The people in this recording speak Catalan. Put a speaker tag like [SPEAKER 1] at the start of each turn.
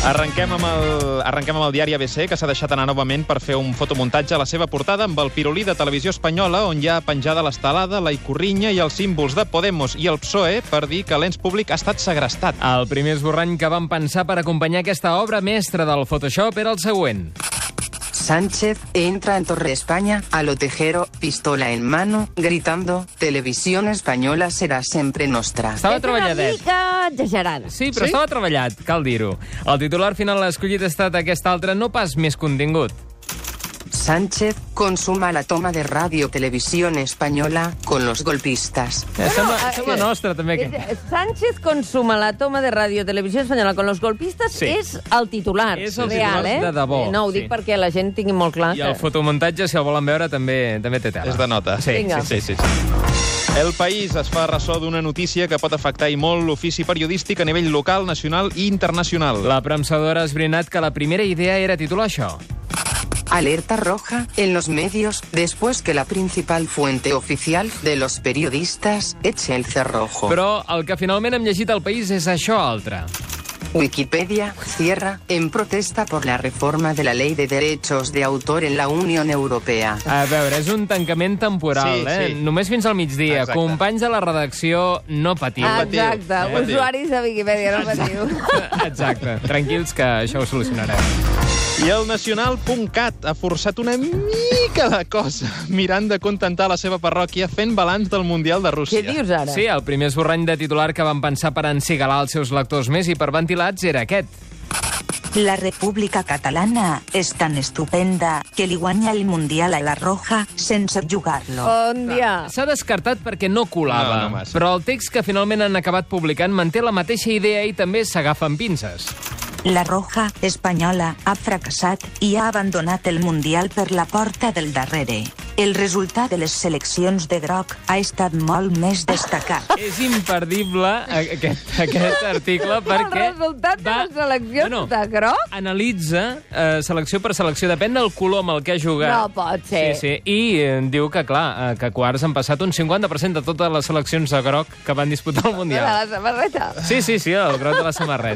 [SPEAKER 1] Arrenquem amb, el, arrenquem amb el diari ABC, que s'ha deixat anar novament per fer un fotomuntatge a la seva portada amb el pirolí de Televisió Espanyola, on hi ha penjada l'estelada, la icorrinya i els símbols de Podemos i el PSOE E per dir que l'ens públic ha estat segrestat.
[SPEAKER 2] El primer esborrany que vam pensar per acompanyar aquesta obra mestra del Photoshop era el següent.
[SPEAKER 3] Sánchez entra en Torre España a lo tejero, pistola en mano, gritando, televisión española será siempre nostra.
[SPEAKER 2] Estava
[SPEAKER 4] És una
[SPEAKER 2] treballadet.
[SPEAKER 4] mica exagerada.
[SPEAKER 2] Sí, però sí? estava treballat, cal dir-ho. El titular final escollit ha estat aquest altre, no pas més contingut. Eh,
[SPEAKER 3] Sánchez consuma la toma de radio televisión española con los golpistas.
[SPEAKER 2] Eh, sembla,
[SPEAKER 4] eh,
[SPEAKER 2] sembla
[SPEAKER 4] eh,
[SPEAKER 2] nostra, també. Que...
[SPEAKER 4] És- Sánchez consuma la toma de Radio Televisió Espanyola con los golpistas
[SPEAKER 2] Sí.
[SPEAKER 4] sí. és el titular
[SPEAKER 2] És el
[SPEAKER 4] real,
[SPEAKER 2] titular
[SPEAKER 4] eh?
[SPEAKER 2] de debò,
[SPEAKER 4] Eh, No, ho
[SPEAKER 2] sí.
[SPEAKER 4] dic perquè la gent tingui molt clar
[SPEAKER 2] I
[SPEAKER 4] que...
[SPEAKER 2] el fotomuntatge, si el volen veure, també també té tela.
[SPEAKER 1] És de nota.
[SPEAKER 2] Sí,
[SPEAKER 4] Vinga.
[SPEAKER 2] sí, sí, sí, sí.
[SPEAKER 1] El País es fa ressò d'una notícia que pot afectar i molt l'ofici periodístic a nivell local, nacional i internacional.
[SPEAKER 2] La premsadora ha esbrinat que la primera idea era titular això.
[SPEAKER 3] Alerta roja en los medios después que la principal fuente oficial de los periodistas eche el
[SPEAKER 1] Oh.
[SPEAKER 3] cerrojo.
[SPEAKER 2] Però el que finalment hem llegit al país és això altre.
[SPEAKER 3] Wikipedia cierra en protesta por la reforma de la ley de derechos de autor en la Unión Europea.
[SPEAKER 2] A veure, és un tancament temporal,
[SPEAKER 1] Sí,
[SPEAKER 2] eh?
[SPEAKER 1] sí.
[SPEAKER 2] Només fins al migdia.
[SPEAKER 1] Exacte.
[SPEAKER 2] Companys de la redacció, no patiu.
[SPEAKER 4] Ah,
[SPEAKER 1] patiu,
[SPEAKER 4] Exacte,
[SPEAKER 1] no patiu.
[SPEAKER 4] usuaris de Wikipedia, no patiu.
[SPEAKER 2] Exacte. Tranquils, que això ho solucionarem.
[SPEAKER 1] I el nacional.cat ha forçat una mica de cosa mirant de contentar la seva parròquia fent balanç del Mundial de Rússia.
[SPEAKER 4] Què dius ara?
[SPEAKER 2] Sí, el primer esborrany de titular que van pensar per encigalar els seus lectors més i per ventilats era aquest.
[SPEAKER 5] La República Catalana és tan estupenda que li guanya el Mundial a la Roja sense jugar-lo.
[SPEAKER 4] Bon dia.
[SPEAKER 2] S'ha descartat perquè no colava,
[SPEAKER 1] No, no massa.
[SPEAKER 2] però el text que finalment han acabat publicant manté la mateixa idea i també s'agafen pinces.
[SPEAKER 5] La Roja espanyola ha fracassat i ha abandonat el Mundial per la porta del darrere. El resultat de les seleccions de groc ha estat molt més destacat.
[SPEAKER 2] És imperdible a- aquest, aquest article perquè...
[SPEAKER 4] resultat de les seleccions de groc?
[SPEAKER 2] Analitza eh, selecció per selecció, depèn del color amb el que ha jugat.
[SPEAKER 4] No pot ser.
[SPEAKER 2] Sí, sí. I eh, diu que, clar, eh, que quarts han passat un 50% de totes les seleccions de groc que van disputar el
[SPEAKER 4] De
[SPEAKER 2] Mundial.
[SPEAKER 4] la samarreta.
[SPEAKER 2] Sí, sí, sí, el groc de la samarreta.